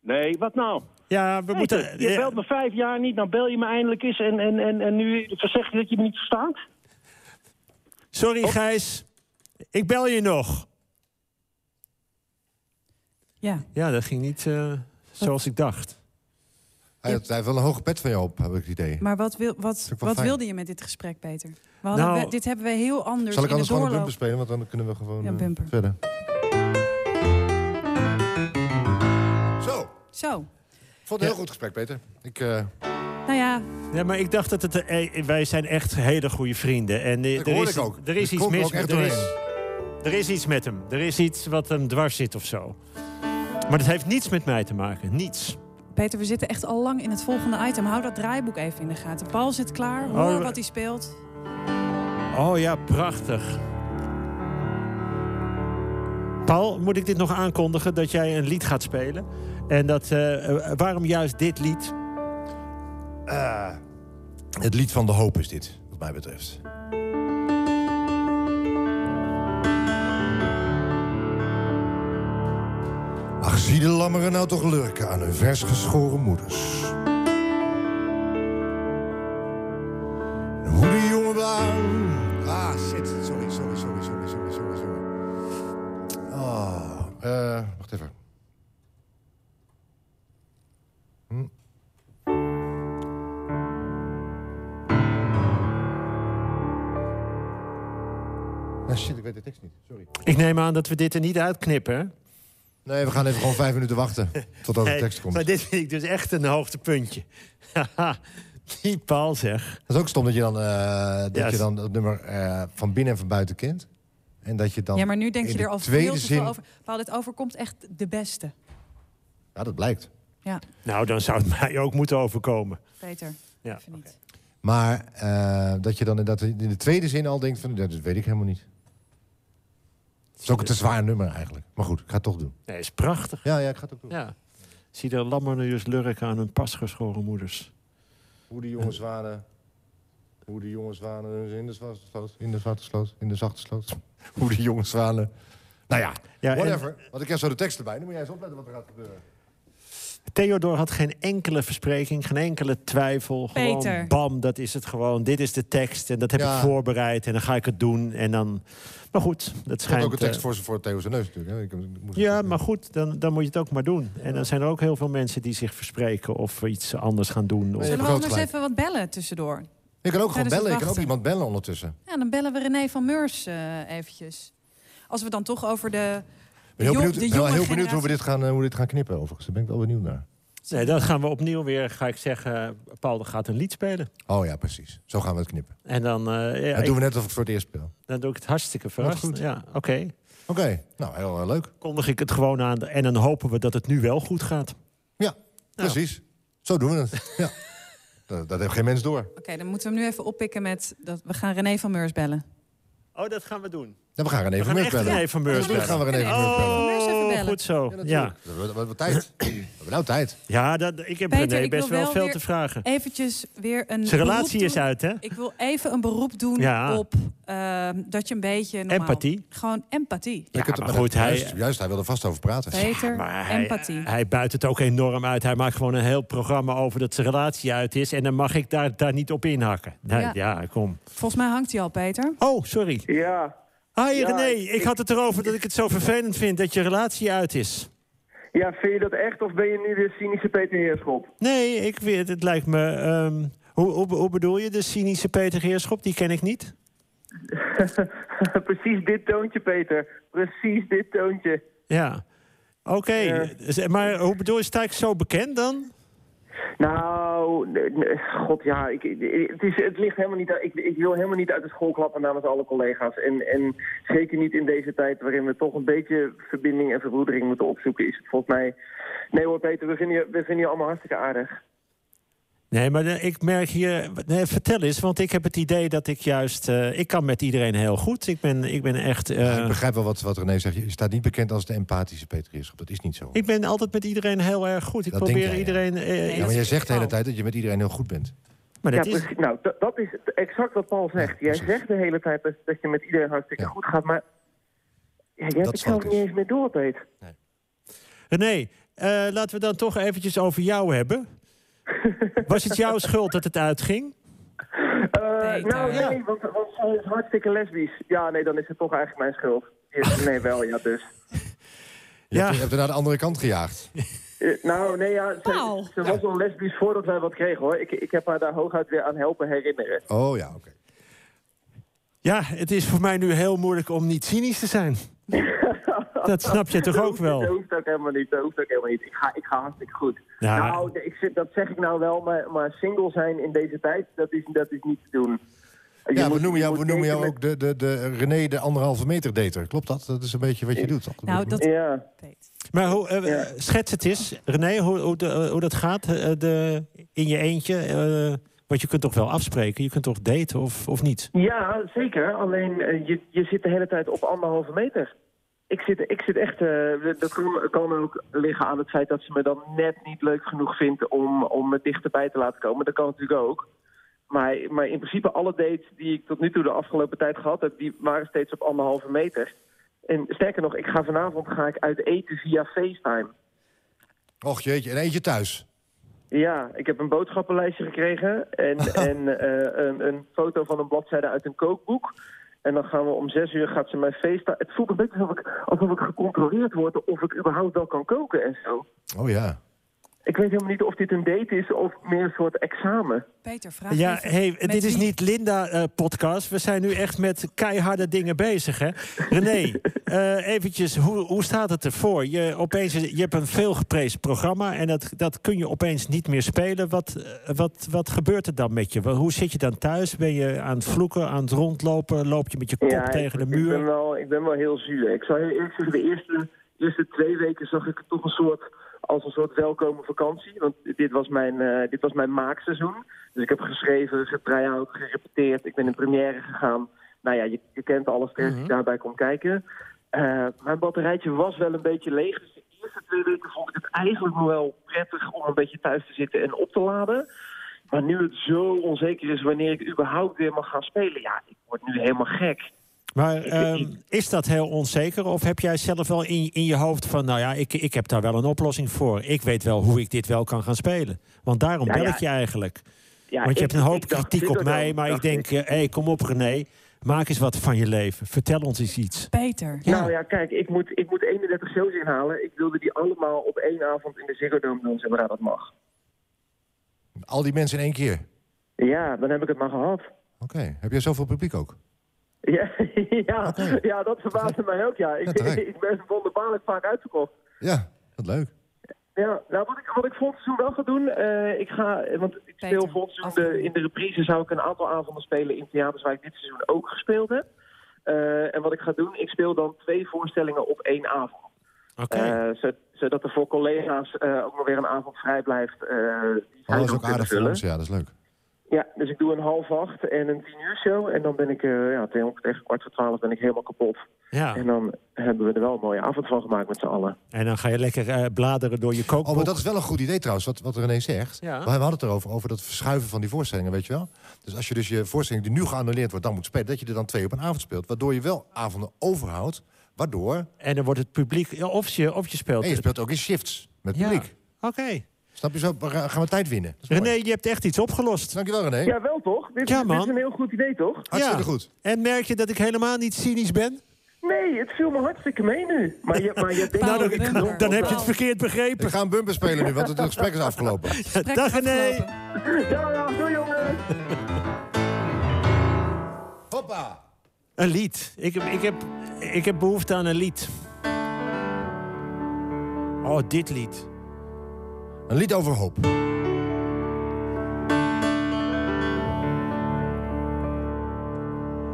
Speaker 6: Nee, wat nou?
Speaker 3: Ja, we moeten...
Speaker 6: Peter, je belt me vijf jaar niet, nou bel je me eindelijk eens en, en, en, en nu zeg je dat je me niet verstaat?
Speaker 3: Sorry, Gijs. Ik bel je nog.
Speaker 1: Ja.
Speaker 3: Ja, dat ging niet eh, zoals ik dacht.
Speaker 2: Hij, had- hij heeft wel een hoge pet van jou op, heb ik het idee.
Speaker 1: Maar wat, wil, wat,
Speaker 2: is ook wel
Speaker 1: wat
Speaker 2: fijn.
Speaker 1: wilde je met dit gesprek, Peter? We hadden-
Speaker 3: Nou-
Speaker 1: we- dit hebben we heel anders
Speaker 2: Zal ik
Speaker 1: in de
Speaker 2: anders gewoon een
Speaker 1: doorloop.
Speaker 2: bumper spelen? Want dan kunnen we gewoon
Speaker 1: Ja,
Speaker 2: eh,
Speaker 1: bumper.
Speaker 2: verder. Zo,
Speaker 1: Zo.
Speaker 2: ik vond het een heel goed gesprek, Peter. Ik, eh,
Speaker 1: Nou ja,
Speaker 3: Ja, maar ik dacht dat het... eh, wij zijn echt hele goede vrienden. En eh,
Speaker 2: dat
Speaker 3: er,
Speaker 2: hoorde
Speaker 3: is,
Speaker 2: ik ook.
Speaker 3: er is
Speaker 2: Ik
Speaker 3: iets
Speaker 2: kon er
Speaker 3: mis
Speaker 2: ook echt
Speaker 3: met er is,
Speaker 2: doorheen.
Speaker 3: er is iets met hem. Er is iets wat hem dwars zit of zo. Maar dat heeft niets met mij te maken. Niets.
Speaker 1: Peter, we zitten echt al lang in het volgende item. Hou dat draaiboek even in de gaten. Paul zit klaar, hoor
Speaker 3: Oh, we-
Speaker 1: wat hij speelt.
Speaker 3: Oh ja, prachtig. Paul, moet ik dit nog aankondigen dat jij een lied gaat spelen? En dat, eh, eh, waarom juist dit lied?
Speaker 2: eh, het lied van de hoop is dit, wat mij betreft. Ach, zie de lammeren nou toch lurken aan hun vers geschoren moeders. En Hoe die jongen daar... Ah, shit. Sorry, sorry, sorry, sorry, sorry, sorry, sorry. Oh, eh, wacht even. Ah, shit, ik weet de tekst niet. Sorry.
Speaker 3: Ik neem aan dat we dit er niet uitknippen. hè?
Speaker 2: Nee, we gaan even gewoon vijf minuten wachten totdat de
Speaker 3: Hey,
Speaker 2: tekst komt.
Speaker 3: Maar dit vind ik dus echt een hoogtepuntje. Haha, Die Paul zeg.
Speaker 2: Dat is ook stom dat je dan, eh, dat,
Speaker 3: Ja,
Speaker 2: je dan dat nummer eh, van binnen en van buiten kent. En dat je dan
Speaker 1: Ja, maar nu denk
Speaker 2: in
Speaker 1: je
Speaker 2: de
Speaker 1: er al
Speaker 2: tweede
Speaker 1: veel te
Speaker 2: zin-
Speaker 1: veel over. Paul, dit overkomt echt de beste.
Speaker 2: Ja, dat blijkt.
Speaker 1: Ja,
Speaker 3: Nou, dan zou het mij ook moeten overkomen.
Speaker 1: Peter.
Speaker 3: Ja.
Speaker 1: Even niet.
Speaker 2: Maar eh, dat je dan inderdaad in de tweede zin al denkt van... "Ja, Dat weet ik helemaal niet. Het is ook een te zwaar nummer eigenlijk. Maar goed, ik ga het toch doen.
Speaker 3: Nee, is prachtig.
Speaker 2: Ja, ja ik ga het ook doen.
Speaker 3: Ja. Zie de lammeren dus lurken aan hun pasgeschoren moeders.
Speaker 2: Hoe de jonge zwanen... Hoe de jonge zwanen hun dus in de zwarte sloot, in de zwarte sloot, in de zachte sloot. Hoe de jonge zwanen... Nou ja,
Speaker 3: Ja, en-
Speaker 2: whatever. Want ik heb zo de tekst erbij. Dan moet jij eens opletten wat er gaat gebeuren.
Speaker 3: Theodor had geen enkele verspreking, geen enkele twijfel. Gewoon
Speaker 1: Peter.
Speaker 3: bam, dat is het gewoon. Dit is de tekst en dat heb
Speaker 2: Ja.
Speaker 3: ik voorbereid en dan ga ik het doen. En dan... Maar goed, dat
Speaker 2: Ik had
Speaker 3: schijnt...
Speaker 2: ook een tekst
Speaker 3: eh,
Speaker 2: voor, voor Theo zijn neus natuurlijk. Hè. Ik, ik moest
Speaker 3: Ja, maar goed, dan, dan moet je het ook maar doen. En dan zijn er ook heel veel mensen die zich verspreken of iets anders gaan doen. Of...
Speaker 2: Nee, je hebt
Speaker 1: Zullen we
Speaker 2: groot
Speaker 1: anders
Speaker 2: gelijk.
Speaker 1: even wat bellen tussendoor?
Speaker 2: Ik kan ook gewoon
Speaker 1: Tijdens het
Speaker 2: bellen. Ik kan ook
Speaker 1: dus wachten.
Speaker 2: iemand bellen ondertussen.
Speaker 1: Ja, dan bellen we René van Meurs eh, eventjes. Als we dan toch over de.
Speaker 2: Ik ben heel
Speaker 1: jong-
Speaker 2: benieuwd,
Speaker 1: de
Speaker 2: ben wel
Speaker 1: jonge
Speaker 2: heel benieuwd hoe, we
Speaker 1: generatie-
Speaker 2: dit gaan, eh, hoe we dit gaan knippen, overigens. Daar ben ik wel benieuwd naar.
Speaker 3: Nee, dan gaan we opnieuw weer, ga ik zeggen, Paul gaat een lied spelen.
Speaker 2: Oh ja, precies. Zo gaan we het knippen.
Speaker 3: En dan, eh, ja,
Speaker 2: dat
Speaker 3: ik-
Speaker 2: doen we net alsof ik voor het eerst speel.
Speaker 3: dan doe ik het hartstikke verrast.
Speaker 2: goed.
Speaker 3: Ja, oké.
Speaker 2: Oké, nou, heel eh, leuk.
Speaker 3: Kondig ik het gewoon aan en dan hopen we dat het nu wel goed gaat.
Speaker 2: Ja, precies. Zo doen we het. ja. dat, dat heeft geen mens door.
Speaker 1: Oké, dan moeten we hem nu even oppikken met. Dat... We gaan René van Meurs bellen.
Speaker 3: Oh, dat gaan we doen.
Speaker 2: Ja, we gaan René
Speaker 3: We
Speaker 2: van
Speaker 3: gaan
Speaker 2: Meurs
Speaker 3: echt
Speaker 2: bellen.
Speaker 3: even Meurs
Speaker 2: Natuurlijk
Speaker 3: bellen.
Speaker 2: gaan we René van Meurs bellen.
Speaker 1: Meurs even
Speaker 3: Oh,
Speaker 1: bellen.
Speaker 3: goed zo.
Speaker 2: Ja,
Speaker 3: Ja,
Speaker 2: natuurlijk. We hebben- we hebben tijd. We hebben nou tijd.
Speaker 3: ja dat, ik heb
Speaker 1: Peter,
Speaker 3: René
Speaker 1: ik wil
Speaker 3: best wel
Speaker 1: wel
Speaker 3: veel
Speaker 1: weer-
Speaker 3: te vragen.
Speaker 1: Eventjes weer een.
Speaker 3: Zijn relatie
Speaker 1: beroep
Speaker 3: is
Speaker 1: doen.
Speaker 3: uit, hè?
Speaker 1: Ik wil even een beroep doen
Speaker 3: Ja.
Speaker 1: op ehm, dat je een beetje. normaal-
Speaker 3: Empathie.
Speaker 1: Gewoon empathie.
Speaker 3: Ja,
Speaker 2: Je kunt er-
Speaker 3: maar goed, hij,
Speaker 2: Juist, juist, hij wil er vast over praten.
Speaker 1: Beter
Speaker 3: Maar hij,
Speaker 1: empathie.
Speaker 3: hij buit het ook enorm uit. Hij maakt gewoon een heel programma over dat zijn relatie uit is. En dan mag ik daar, daar niet op inhakken. Nou,
Speaker 1: Ja.
Speaker 3: ja. kom.
Speaker 1: Volgens mij hangt hij al, Peter.
Speaker 3: Oh, sorry.
Speaker 7: Ja.
Speaker 3: Hi
Speaker 7: Ja,
Speaker 3: René,
Speaker 7: ik-
Speaker 3: ik, had het erover dat ik het zo vervelend vind dat je relatie uit is.
Speaker 7: ja, vind je dat echt of ben je nu de cynische Peter Heerschop?
Speaker 3: Nee, ik weet, het lijkt me... ehm, hoe, hoe, hoe bedoel je de cynische Peter Geerschop? Die ken ik niet.
Speaker 7: Precies dit toontje, Peter. Precies dit toontje.
Speaker 3: Ja. Oké,
Speaker 7: Ja.
Speaker 3: Z- maar hoe bedoel je, sta ik zo bekend dan?
Speaker 7: Nou, nee, nee, god ja, ik, ik- het, is, het ligt helemaal niet... uit- Ik, ik wil helemaal niet uit de school klappen namens alle collega's. En, en zeker niet in deze tijd waarin we toch een beetje verbinding en verbroedering moeten opzoeken... is het volgens mij... Nee hoor, Peter, we vinden je, we vinden je allemaal hartstikke aardig.
Speaker 3: Nee, maar eh, ik merk hier... Nee, vertel eens, want ik heb het idee dat ik juist... eh, ik kan met iedereen heel goed. Ik ben, ik ben echt... eh,
Speaker 2: Ik begrijp wel wat, wat René zegt. Je staat niet bekend als de empathische Peter Heerschop. Dat is niet zo.
Speaker 3: ik ben altijd met iedereen heel erg goed. Ik
Speaker 2: Dat
Speaker 3: probeer
Speaker 2: denk jij, ja.
Speaker 3: iedereen... eh,
Speaker 2: Ja, maar
Speaker 1: dat
Speaker 2: jij
Speaker 1: is
Speaker 2: zegt de hele
Speaker 1: Paul.
Speaker 2: tijd dat je met iedereen heel goed bent.
Speaker 3: maar
Speaker 7: ja,
Speaker 3: dat is...
Speaker 7: precies. Nou, dat- dat is exact wat Paul zegt. Jij
Speaker 2: precies.
Speaker 7: zegt de hele tijd dat, dat je met iedereen hartstikke
Speaker 2: Ja.
Speaker 7: goed gaat, maar... Ja, jij hebt
Speaker 2: Dat dus
Speaker 7: het
Speaker 2: is
Speaker 7: zelf
Speaker 2: wat
Speaker 7: niet
Speaker 2: het is.
Speaker 7: eens meer door, Peter.
Speaker 3: René, eh, laten we dan toch eventjes over jou hebben. Was het jouw schuld dat het uitging?
Speaker 7: Eh,
Speaker 1: Peter.
Speaker 7: nou, nee,
Speaker 3: Ja.
Speaker 7: want, want zij is hartstikke lesbisch. Ja, nee, dan is het toch eigenlijk mijn schuld. Ja, Nee, wel, ja, dus.
Speaker 2: Je,
Speaker 3: Ja.
Speaker 2: hebt, je hebt haar naar de andere kant gejaagd.
Speaker 7: Eh, nou, nee, ja,
Speaker 1: Wauw.
Speaker 7: ze, ze was al lesbisch voordat wij wat kregen, hoor. Ik, ik heb haar daar hooguit weer aan helpen herinneren.
Speaker 2: Oh ja, oké.
Speaker 3: Ja, het is voor mij nu heel moeilijk om niet cynisch te zijn. Dat snap je toch ook
Speaker 7: Dat
Speaker 3: wel?
Speaker 7: hoeft ook helemaal niet, dat hoeft ook helemaal niet. Ik ga, ik ga hartstikke goed.
Speaker 3: Ja.
Speaker 7: Nou, ik, zit- dat zeg ik nou wel, maar, maar single zijn in deze tijd, dat is, dat is niet te doen. Je
Speaker 2: Ja, we
Speaker 7: moet-
Speaker 2: noemen
Speaker 7: je
Speaker 2: jou, we
Speaker 7: moet
Speaker 2: noemen jou
Speaker 7: denken
Speaker 2: ook de, de, de René de anderhalve meter dater. Klopt dat? Dat is een beetje wat je doet, toch?
Speaker 1: Nou, dat
Speaker 7: met- Ja.
Speaker 1: Peter.
Speaker 3: Maar hoe, eh, schets het eens, René, hoe, hoe, de- hoe dat gaat eh, de, in je eentje. eh, want je kunt toch wel afspreken, je kunt toch daten of, of niet?
Speaker 7: Ja, zeker. Alleen eh, je, je zit de hele tijd op anderhalve meter. Ik zit, ik zit echt. eh, dat kan, kan ook liggen aan het feit dat ze me dan net niet leuk genoeg vindt om, om me dichterbij te laten komen. Dat kan natuurlijk ook. Maar, maar in principe, alle dates die ik tot nu toe de afgelopen tijd gehad heb, die waren steeds op anderhalve meter. En sterker nog, ik ga vanavond ga ik uit eten via FaceTime.
Speaker 2: Och jeetje, en eentje thuis.
Speaker 7: Ja, ik heb een boodschappenlijstje gekregen en, en eh, een, een foto van een bladzijde uit een kookboek. En dan gaan we om zes uur gaat ze mij feesten. Het voelt een beetje alsof ik, alsof ik gecontroleerd word of ik überhaupt wel kan koken en zo.
Speaker 2: Oh ja.
Speaker 7: Ik weet helemaal niet of dit een date is of meer een soort examen.
Speaker 1: Peter, vraag
Speaker 3: Ja,
Speaker 1: even
Speaker 3: hey,
Speaker 1: met
Speaker 3: dit is
Speaker 1: wie-
Speaker 3: niet Linda-podcast. eh, We zijn nu echt met keiharde dingen bezig, hè? René, eh, eventjes, hoe, hoe staat het ervoor? Je, opeens, je hebt een veelgeprezen programma en dat, dat kun je opeens niet meer spelen. Wat, eh, wat, wat gebeurt er dan met je? Wel, Hoe zit je dan thuis? Ben je aan het vloeken, aan het rondlopen? Loop je met je kop
Speaker 7: ik-
Speaker 3: tegen de
Speaker 7: ik,
Speaker 3: muur?
Speaker 7: ben wel, ik ben wel heel zuur. Ik zou heel eerlijk zeggen, de eerste, eerste twee weken zag ik het toch een soort, als een soort welkome vakantie. Want dit was mijn, eh, dit was mijn maakseizoen. Dus ik heb geschreven, getry-out, gerepeteerd. Ik ben in première gegaan. Nou ja, je, je kent alle
Speaker 3: Mhm.
Speaker 7: stress die daarbij komt kijken. Eh, mijn batterijtje was wel een beetje leeg. Dus de eerste twee weken vond ik het eigenlijk nog wel prettig om een beetje thuis te zitten en op te laden. Maar nu het zo onzeker is wanneer ik überhaupt weer mag gaan spelen, ja, ik word nu helemaal gek.
Speaker 3: Maar ehm, is dat heel onzeker? Of heb jij zelf wel in, in je hoofd van... nou ja, ik, ik heb daar wel een oplossing voor. Ik weet wel hoe ik dit wel kan gaan spelen. Want daarom
Speaker 7: Ja,
Speaker 3: bel
Speaker 7: ja.
Speaker 3: ik je eigenlijk.
Speaker 7: Ja,
Speaker 3: Want je
Speaker 7: ik-
Speaker 3: hebt een hoop
Speaker 7: ik dacht
Speaker 3: kritiek
Speaker 7: dit
Speaker 3: op
Speaker 7: ook wel,
Speaker 3: mij, maar ik
Speaker 7: dacht
Speaker 3: denk, hé, hey, kom op René, maak eens wat van je leven. Vertel ons eens iets.
Speaker 1: Peter.
Speaker 3: Ja.
Speaker 7: Nou ja, kijk, ik moet, ik moet 31 shows inhalen. Ik wilde die allemaal op één avond in de Ziggo Dome doen, zodra dat mag.
Speaker 2: Al die mensen in één keer.
Speaker 7: Ja, dan heb ik het maar gehad.
Speaker 2: Oké, heb jij zoveel publiek ook?
Speaker 7: Ja, ja,
Speaker 2: Oké.
Speaker 7: ja dat verbaasde mij ook, ja. Ik,
Speaker 2: Ja, terecht.
Speaker 7: ik ben wonderbaarlijk vaak uitverkocht.
Speaker 2: Ja, wat leuk.
Speaker 7: Ja, nou, wat ik, wat ik volgend seizoen wel ga doen, eh, ik ga, eh, want ik speel
Speaker 1: Peter,
Speaker 7: volgend seizoen
Speaker 1: afronden.
Speaker 7: de, in de reprise zou ik een aantal avonden spelen in theaters waar ik dit seizoen ook gespeeld heb. Eh, en wat ik ga doen, ik speel dan twee voorstellingen op één avond.
Speaker 3: Oké.
Speaker 7: Eh, zo- zodat er voor collega's eh, ook nog weer een avond vrij blijft. eh, die zij
Speaker 2: Oh, dat is
Speaker 7: dan
Speaker 2: ook
Speaker 7: kunnen
Speaker 2: aardig voor
Speaker 7: vullen.
Speaker 2: ons, ja, dat is leuk.
Speaker 7: Ja, dus ik doe een half acht en een tien uur show. En dan ben ik eh, ja, tegen tegen kwart voor twaalf ben ik helemaal kapot.
Speaker 3: ja.
Speaker 7: En dan hebben we er wel een mooie avond van gemaakt met z'n allen.
Speaker 3: En dan ga je lekker eh, bladeren door je kookboek.
Speaker 2: Oh, maar dat is wel een goed idee trouwens, wat, wat René zegt.
Speaker 3: Ja.
Speaker 2: Maar We hadden het erover, over dat verschuiven van die voorstellingen, weet je wel? Dus als je dus je voorstelling die nu geannuleerd wordt, dan moet spelen... dat je er dan twee op een avond speelt, waardoor je wel avonden overhoudt... waardoor...
Speaker 3: En dan wordt het publiek... ja, Of je, of je speelt...
Speaker 2: En je speelt ook in shifts met
Speaker 3: Ja.
Speaker 2: publiek.
Speaker 3: Oké.
Speaker 2: Snap je zo? We gaan gaan we tijd winnen. Dat is mooi.
Speaker 3: René, je hebt echt iets opgelost.
Speaker 2: Dankjewel, René.
Speaker 7: Ja, wel toch? Dit,
Speaker 3: Ja,
Speaker 7: dit
Speaker 3: man.
Speaker 7: is een heel goed idee, toch?
Speaker 2: Hartstikke
Speaker 3: Ja.
Speaker 2: goed.
Speaker 3: En merk je dat ik helemaal niet cynisch ben?
Speaker 7: Nee, het viel me hartstikke mee nu. Maar je, maar je denkt
Speaker 1: Nou,
Speaker 7: dat
Speaker 1: dan-
Speaker 7: ik-
Speaker 1: dan-
Speaker 3: Dan heb je het verkeerd begrepen.
Speaker 2: We gaan bumper spelen nu, want het gesprek is afgelopen.
Speaker 1: Gesprek is
Speaker 3: Dag, René.
Speaker 1: afgelopen.
Speaker 7: Ja, ja, doei jongens!
Speaker 2: Hoppa!
Speaker 3: Een lied. Ik, heb- ik, heb, ik heb behoefte aan een lied. Oh, dit lied.
Speaker 2: Een lied over hoop.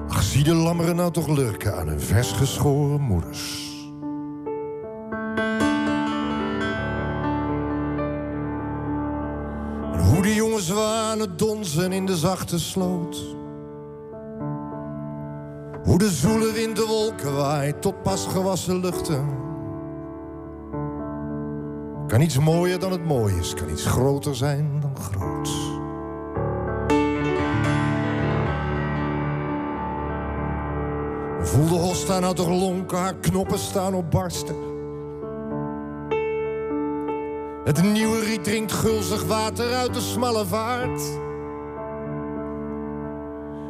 Speaker 2: Ach, zie de lammeren nou toch lurken aan hun vers geschoren moeders. En hoe de jongens waren het donzen in de zachte sloot. Hoe de zoele wind de wolken waait tot pas gewassen luchten. Kan iets mooier dan het mooi is, kan iets groter zijn dan groot. Voel de hosta nou toch lonken, haar knoppen staan op barsten. Het nieuwe riet drinkt gulzig water uit de smalle vaart.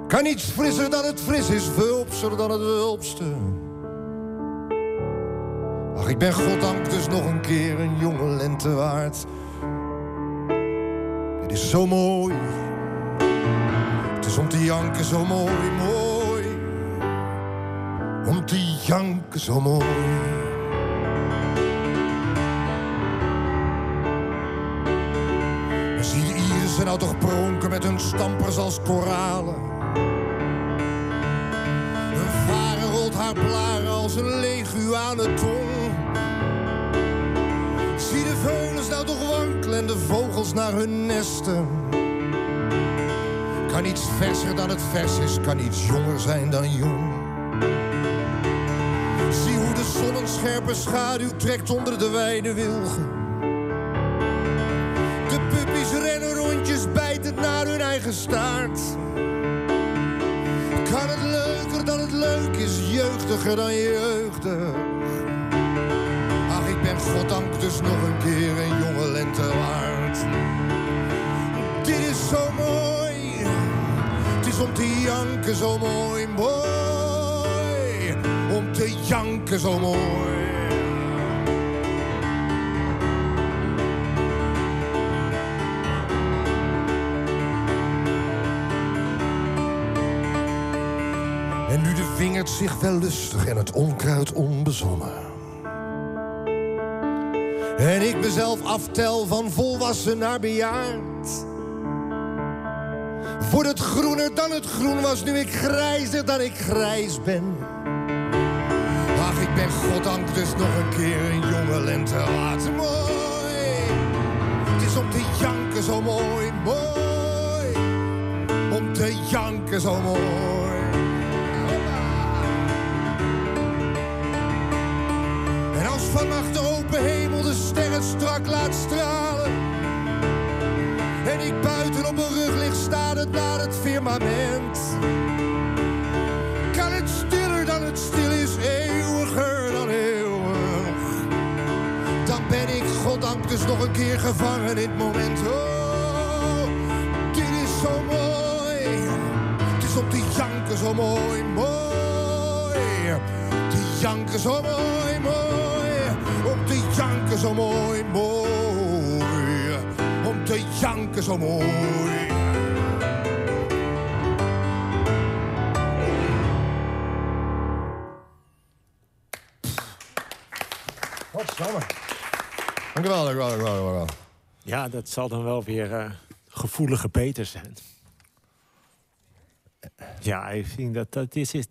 Speaker 2: Kan iets frisser dan het fris is, wulpser dan het wulpste. Ach, ik ben goddank dus nog een keer een jonge lente waard. Dit is zo mooi. Het is om te janken zo mooi, mooi. Om te janken zo mooi. En Zie de irissen nou toch pronken met hun stampers als koralen. Een varen rolt haar blaren als een leguaan aan de tong. Zie de veulens nou toch wankelen en de vogels naar hun nesten. Kan iets verser dan het vers is, kan iets jonger zijn dan jong. Zie hoe de zon een scherpe schaduw trekt onder de wijde wilgen. De puppies rennen rondjes bijtend naar hun eigen staart. Kan het leuker dan het leuk is, jeugdiger dan jeugdig. Ach, ik ben goddank dus nog een keer een jonge lente waard. Dit is zo mooi, het is om te janken zo mooi, mooi. Om te janken zo mooi. En nu de vingert zich wel lustig en het onkruid onbezonnen. En ik mezelf aftel van volwassen naar bejaard. Wordt het groener dan het groen was, nu ik grijzer dan ik grijs ben. Ach, ik ben goddank dus nog een keer een jonge lente laat. Mooi, het is om te janken zo mooi, mooi. Om te janken zo mooi. En als vannacht de open hemel de sterren strak laat stralen. En ik buiten op mijn rug lig starend naar het firmament. Kan het stiller dan het stil is, eeuwiger dan eeuwig. Dan ben ik goddank dus nog een keer gevangen in het moment. Oh, dit is zo mooi. Het is om te janken zo mooi, mooi. Te janken zo mooi, mooi. Om te janken zo mooi, mooi. Om te janken zo mooi. Godsamme. Dank u wel, dank u wel, dank u wel, dank u wel.
Speaker 3: Ja, dat zal dan wel weer eh, gevoelige Peter zijn. Ja, ik vind dat, dat is het.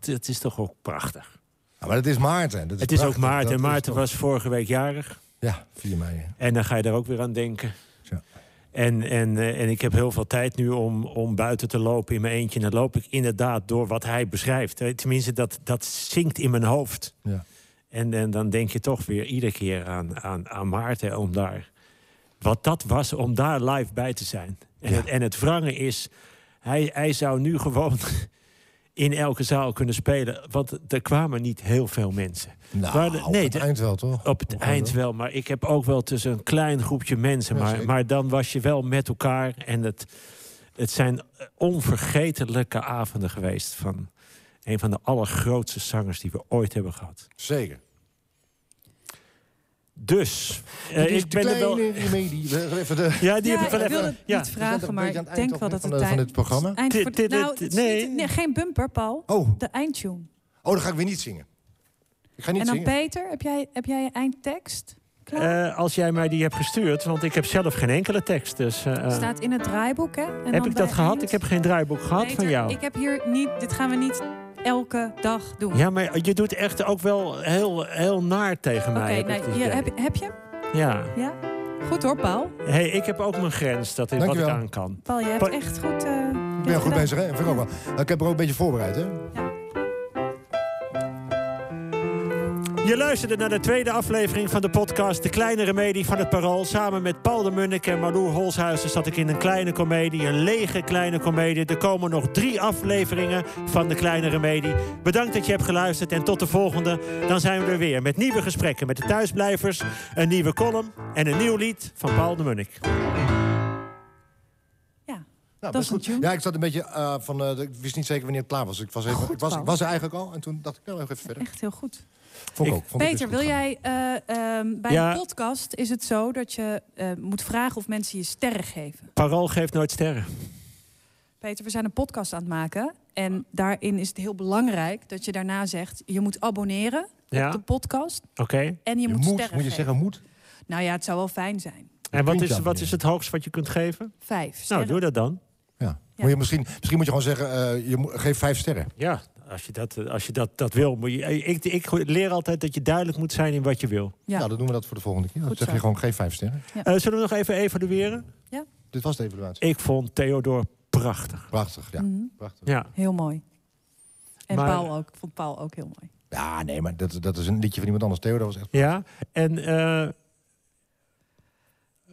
Speaker 3: Dat is toch ook prachtig.
Speaker 2: Ja, maar het is Maarten. Dat
Speaker 3: het is ook
Speaker 2: prachtig.
Speaker 3: Maarten.
Speaker 2: Dat is
Speaker 3: Maarten
Speaker 2: toch-
Speaker 3: was vorige week jarig.
Speaker 2: Ja, 4 mei. hè.
Speaker 3: En dan ga je daar ook weer aan denken.
Speaker 2: Zo.
Speaker 3: En, en, eh, en ik heb heel veel tijd nu om, om buiten te lopen in mijn eentje. En dan loop ik inderdaad door wat hij beschrijft. Eh, Tenminste, dat, dat zinkt in mijn hoofd.
Speaker 2: Ja.
Speaker 3: En, en dan denk je toch weer iedere keer aan, aan, aan Maarten om daar. Wat dat was om daar live bij te zijn. En,
Speaker 2: Ja.
Speaker 3: het, en het wrange is, hij, hij zou nu gewoon in elke zaal kunnen spelen. Want er kwamen niet heel veel mensen.
Speaker 2: Nou,
Speaker 3: Waar de- nee,
Speaker 2: op
Speaker 3: de- Oh.
Speaker 2: het eind wel, toch?
Speaker 3: Op het eind wel, maar ik heb ook wel tussen een klein groepje mensen.
Speaker 2: Ja,
Speaker 3: Maar,
Speaker 2: zeker.
Speaker 3: maar dan was je wel met elkaar. En het, het zijn onvergetelijke avonden geweest van een van de allergrootste zangers die we ooit hebben gehad.
Speaker 2: Zeker.
Speaker 3: Dus, eh,
Speaker 2: Dit is
Speaker 3: ik
Speaker 2: de
Speaker 3: ben er
Speaker 2: kleine
Speaker 3: wel.
Speaker 2: remedie. We- Even de...
Speaker 3: Ja, die
Speaker 1: ja,
Speaker 3: heb ik wel
Speaker 1: ik
Speaker 3: even.
Speaker 1: wilde het
Speaker 3: ja.
Speaker 1: niet vragen,
Speaker 2: een
Speaker 1: maar
Speaker 2: beetje aan
Speaker 1: ik
Speaker 2: het
Speaker 1: denk
Speaker 2: eind
Speaker 1: wel
Speaker 2: toch,
Speaker 1: dat het
Speaker 2: hè, van-
Speaker 1: tijd-
Speaker 2: van dit programma?
Speaker 1: Eind
Speaker 3: Dit-
Speaker 1: voor-
Speaker 3: dit-
Speaker 1: nou,
Speaker 3: dit-
Speaker 1: het is
Speaker 3: nee.
Speaker 1: niet- nee, geen bumper, Paul.
Speaker 2: Oh,
Speaker 1: De eindtune.
Speaker 2: oh, dan ga ik weer niet zingen. Ik ga niet
Speaker 1: En dan
Speaker 2: zingen.
Speaker 1: Peter, heb jij, heb jij je eindtekst klaar?
Speaker 3: Eh, als jij mij die hebt gestuurd, want ik heb zelf geen enkele tekst. Dus, eh, eh,
Speaker 1: Staat in het draaiboek, hè? En
Speaker 3: heb
Speaker 1: dan
Speaker 3: ik
Speaker 1: bij
Speaker 3: dat gehad?
Speaker 1: eind-
Speaker 3: Ik heb geen draaiboek gehad
Speaker 1: Peter,
Speaker 3: van jou.
Speaker 1: Ik heb hier niet... Dit gaan we niet elke dag doen.
Speaker 3: Ja, maar je doet echt ook wel heel, heel naar tegen
Speaker 1: Oké,
Speaker 3: mij. heb ik
Speaker 1: nou,
Speaker 3: het
Speaker 1: hier,
Speaker 3: idee.
Speaker 1: heb, je- heb je hem?
Speaker 3: Ja.
Speaker 1: Ja? Goed hoor, Paul.
Speaker 3: Hey, ik heb ook mijn grens, dat is wat ik
Speaker 2: Dankjewel.
Speaker 3: aan kan.
Speaker 1: Paul, je hebt
Speaker 3: Pa-
Speaker 1: echt goed... eh,
Speaker 2: Ik
Speaker 1: dit
Speaker 2: ben goed
Speaker 1: gedaan.
Speaker 2: bezig, hè? Vind ik ook wel. Nou, Ik heb er ook een beetje voorbereid, hè? Nou,
Speaker 3: Je luisterde naar de tweede aflevering van de podcast De Kleine Remedie van het Parool. Samen met Paul de Munnik en Marloer Holshuizen zat ik in een kleine komedie. Een lege kleine komedie. Er komen nog drie afleveringen van De Kleine Remedie. Bedankt dat je hebt geluisterd en tot de volgende. Dan zijn we er weer met nieuwe gesprekken met de thuisblijvers. Een nieuwe column en een nieuw lied van Paul de Munnik.
Speaker 1: Ja.
Speaker 2: Nou,
Speaker 1: Dat is een tune.
Speaker 2: Ja, ik zat een beetje eh, van... eh, ik wist niet zeker wanneer het klaar was. Ik was, even,
Speaker 1: Goed,
Speaker 2: ik was, ik
Speaker 1: Paul.
Speaker 2: was er eigenlijk al. En toen dacht ik, nou, even verder.
Speaker 1: Echt heel goed.
Speaker 2: Vond ik
Speaker 3: Ik-
Speaker 2: ook. Vond ik
Speaker 1: Peter,
Speaker 2: dus
Speaker 1: wil
Speaker 2: goed gaan.
Speaker 1: jij eh, ehm, bij
Speaker 3: Ja.
Speaker 1: een podcast is het zo dat je eh, moet vragen of mensen je sterren geven?
Speaker 3: Parool geeft nooit sterren.
Speaker 1: Peter, we zijn een podcast aan het maken. En daarin is het heel belangrijk dat je daarna zegt: je moet abonneren
Speaker 3: Ja,
Speaker 1: op de
Speaker 3: oké.
Speaker 1: podcast en je, moet,
Speaker 2: Je moet,
Speaker 1: sterren
Speaker 2: moet je
Speaker 1: geven.
Speaker 2: zeggen moet?
Speaker 1: Nou ja, het zou wel fijn zijn.
Speaker 3: En wat
Speaker 2: Klinkt
Speaker 3: is,
Speaker 2: dat
Speaker 3: wat
Speaker 2: niet.
Speaker 3: is het hoogst wat je kunt geven?
Speaker 1: Vijf.
Speaker 3: Nou,
Speaker 1: sterren.
Speaker 3: doe dat dan.
Speaker 2: Ja. Moet je misschien, misschien moet je gewoon zeggen, eh, je moet- geef vijf sterren.
Speaker 3: Ja, als je dat, eh, als je dat, dat wil. Moet je, eh, ik, ik leer altijd dat je duidelijk moet zijn in wat je wil.
Speaker 1: Ja.
Speaker 2: Nou, dan doen we dat voor de volgende keer. Dan
Speaker 1: Goed
Speaker 2: zeg
Speaker 1: zo.
Speaker 2: je gewoon, geef vijf sterren.
Speaker 3: Eh, zullen we nog even evalueren?
Speaker 2: Dit was de evaluatie.
Speaker 3: Ik vond Theodor prachtig.
Speaker 2: Prachtig, ja.
Speaker 1: Mhm.
Speaker 2: Prachtig.
Speaker 3: Ja,
Speaker 1: Heel mooi. En
Speaker 3: Maar-
Speaker 1: Paul ook. Ik vond Paul ook heel mooi.
Speaker 2: Ja, nee, maar dat, dat is een liedje van iemand anders. Theodor was echt...
Speaker 3: ja. en eh,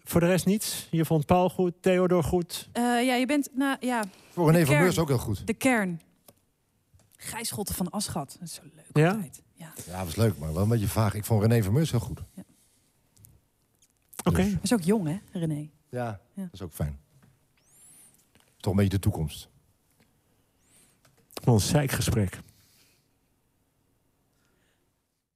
Speaker 3: voor de rest niets. Je vond Paul goed, Theodor goed.
Speaker 1: Eh, ja, je bent nou, ja,
Speaker 2: Voor René van
Speaker 1: kern.
Speaker 2: Beurs ook heel goed.
Speaker 1: de kern. Gijs Schotten van Aschat. Dat is zo leuk
Speaker 3: Ja?
Speaker 1: altijd. Ja.
Speaker 2: Ja, was leuk, maar wel een beetje vaag. Ik vond René van Meurs heel goed.
Speaker 3: Oké.
Speaker 2: Dus-
Speaker 1: Dat is ook jong, hè, René?
Speaker 2: Ja.
Speaker 1: Ja.
Speaker 2: Dat is ook fijn. Toch een beetje de toekomst.
Speaker 3: Ons zeikgesprek.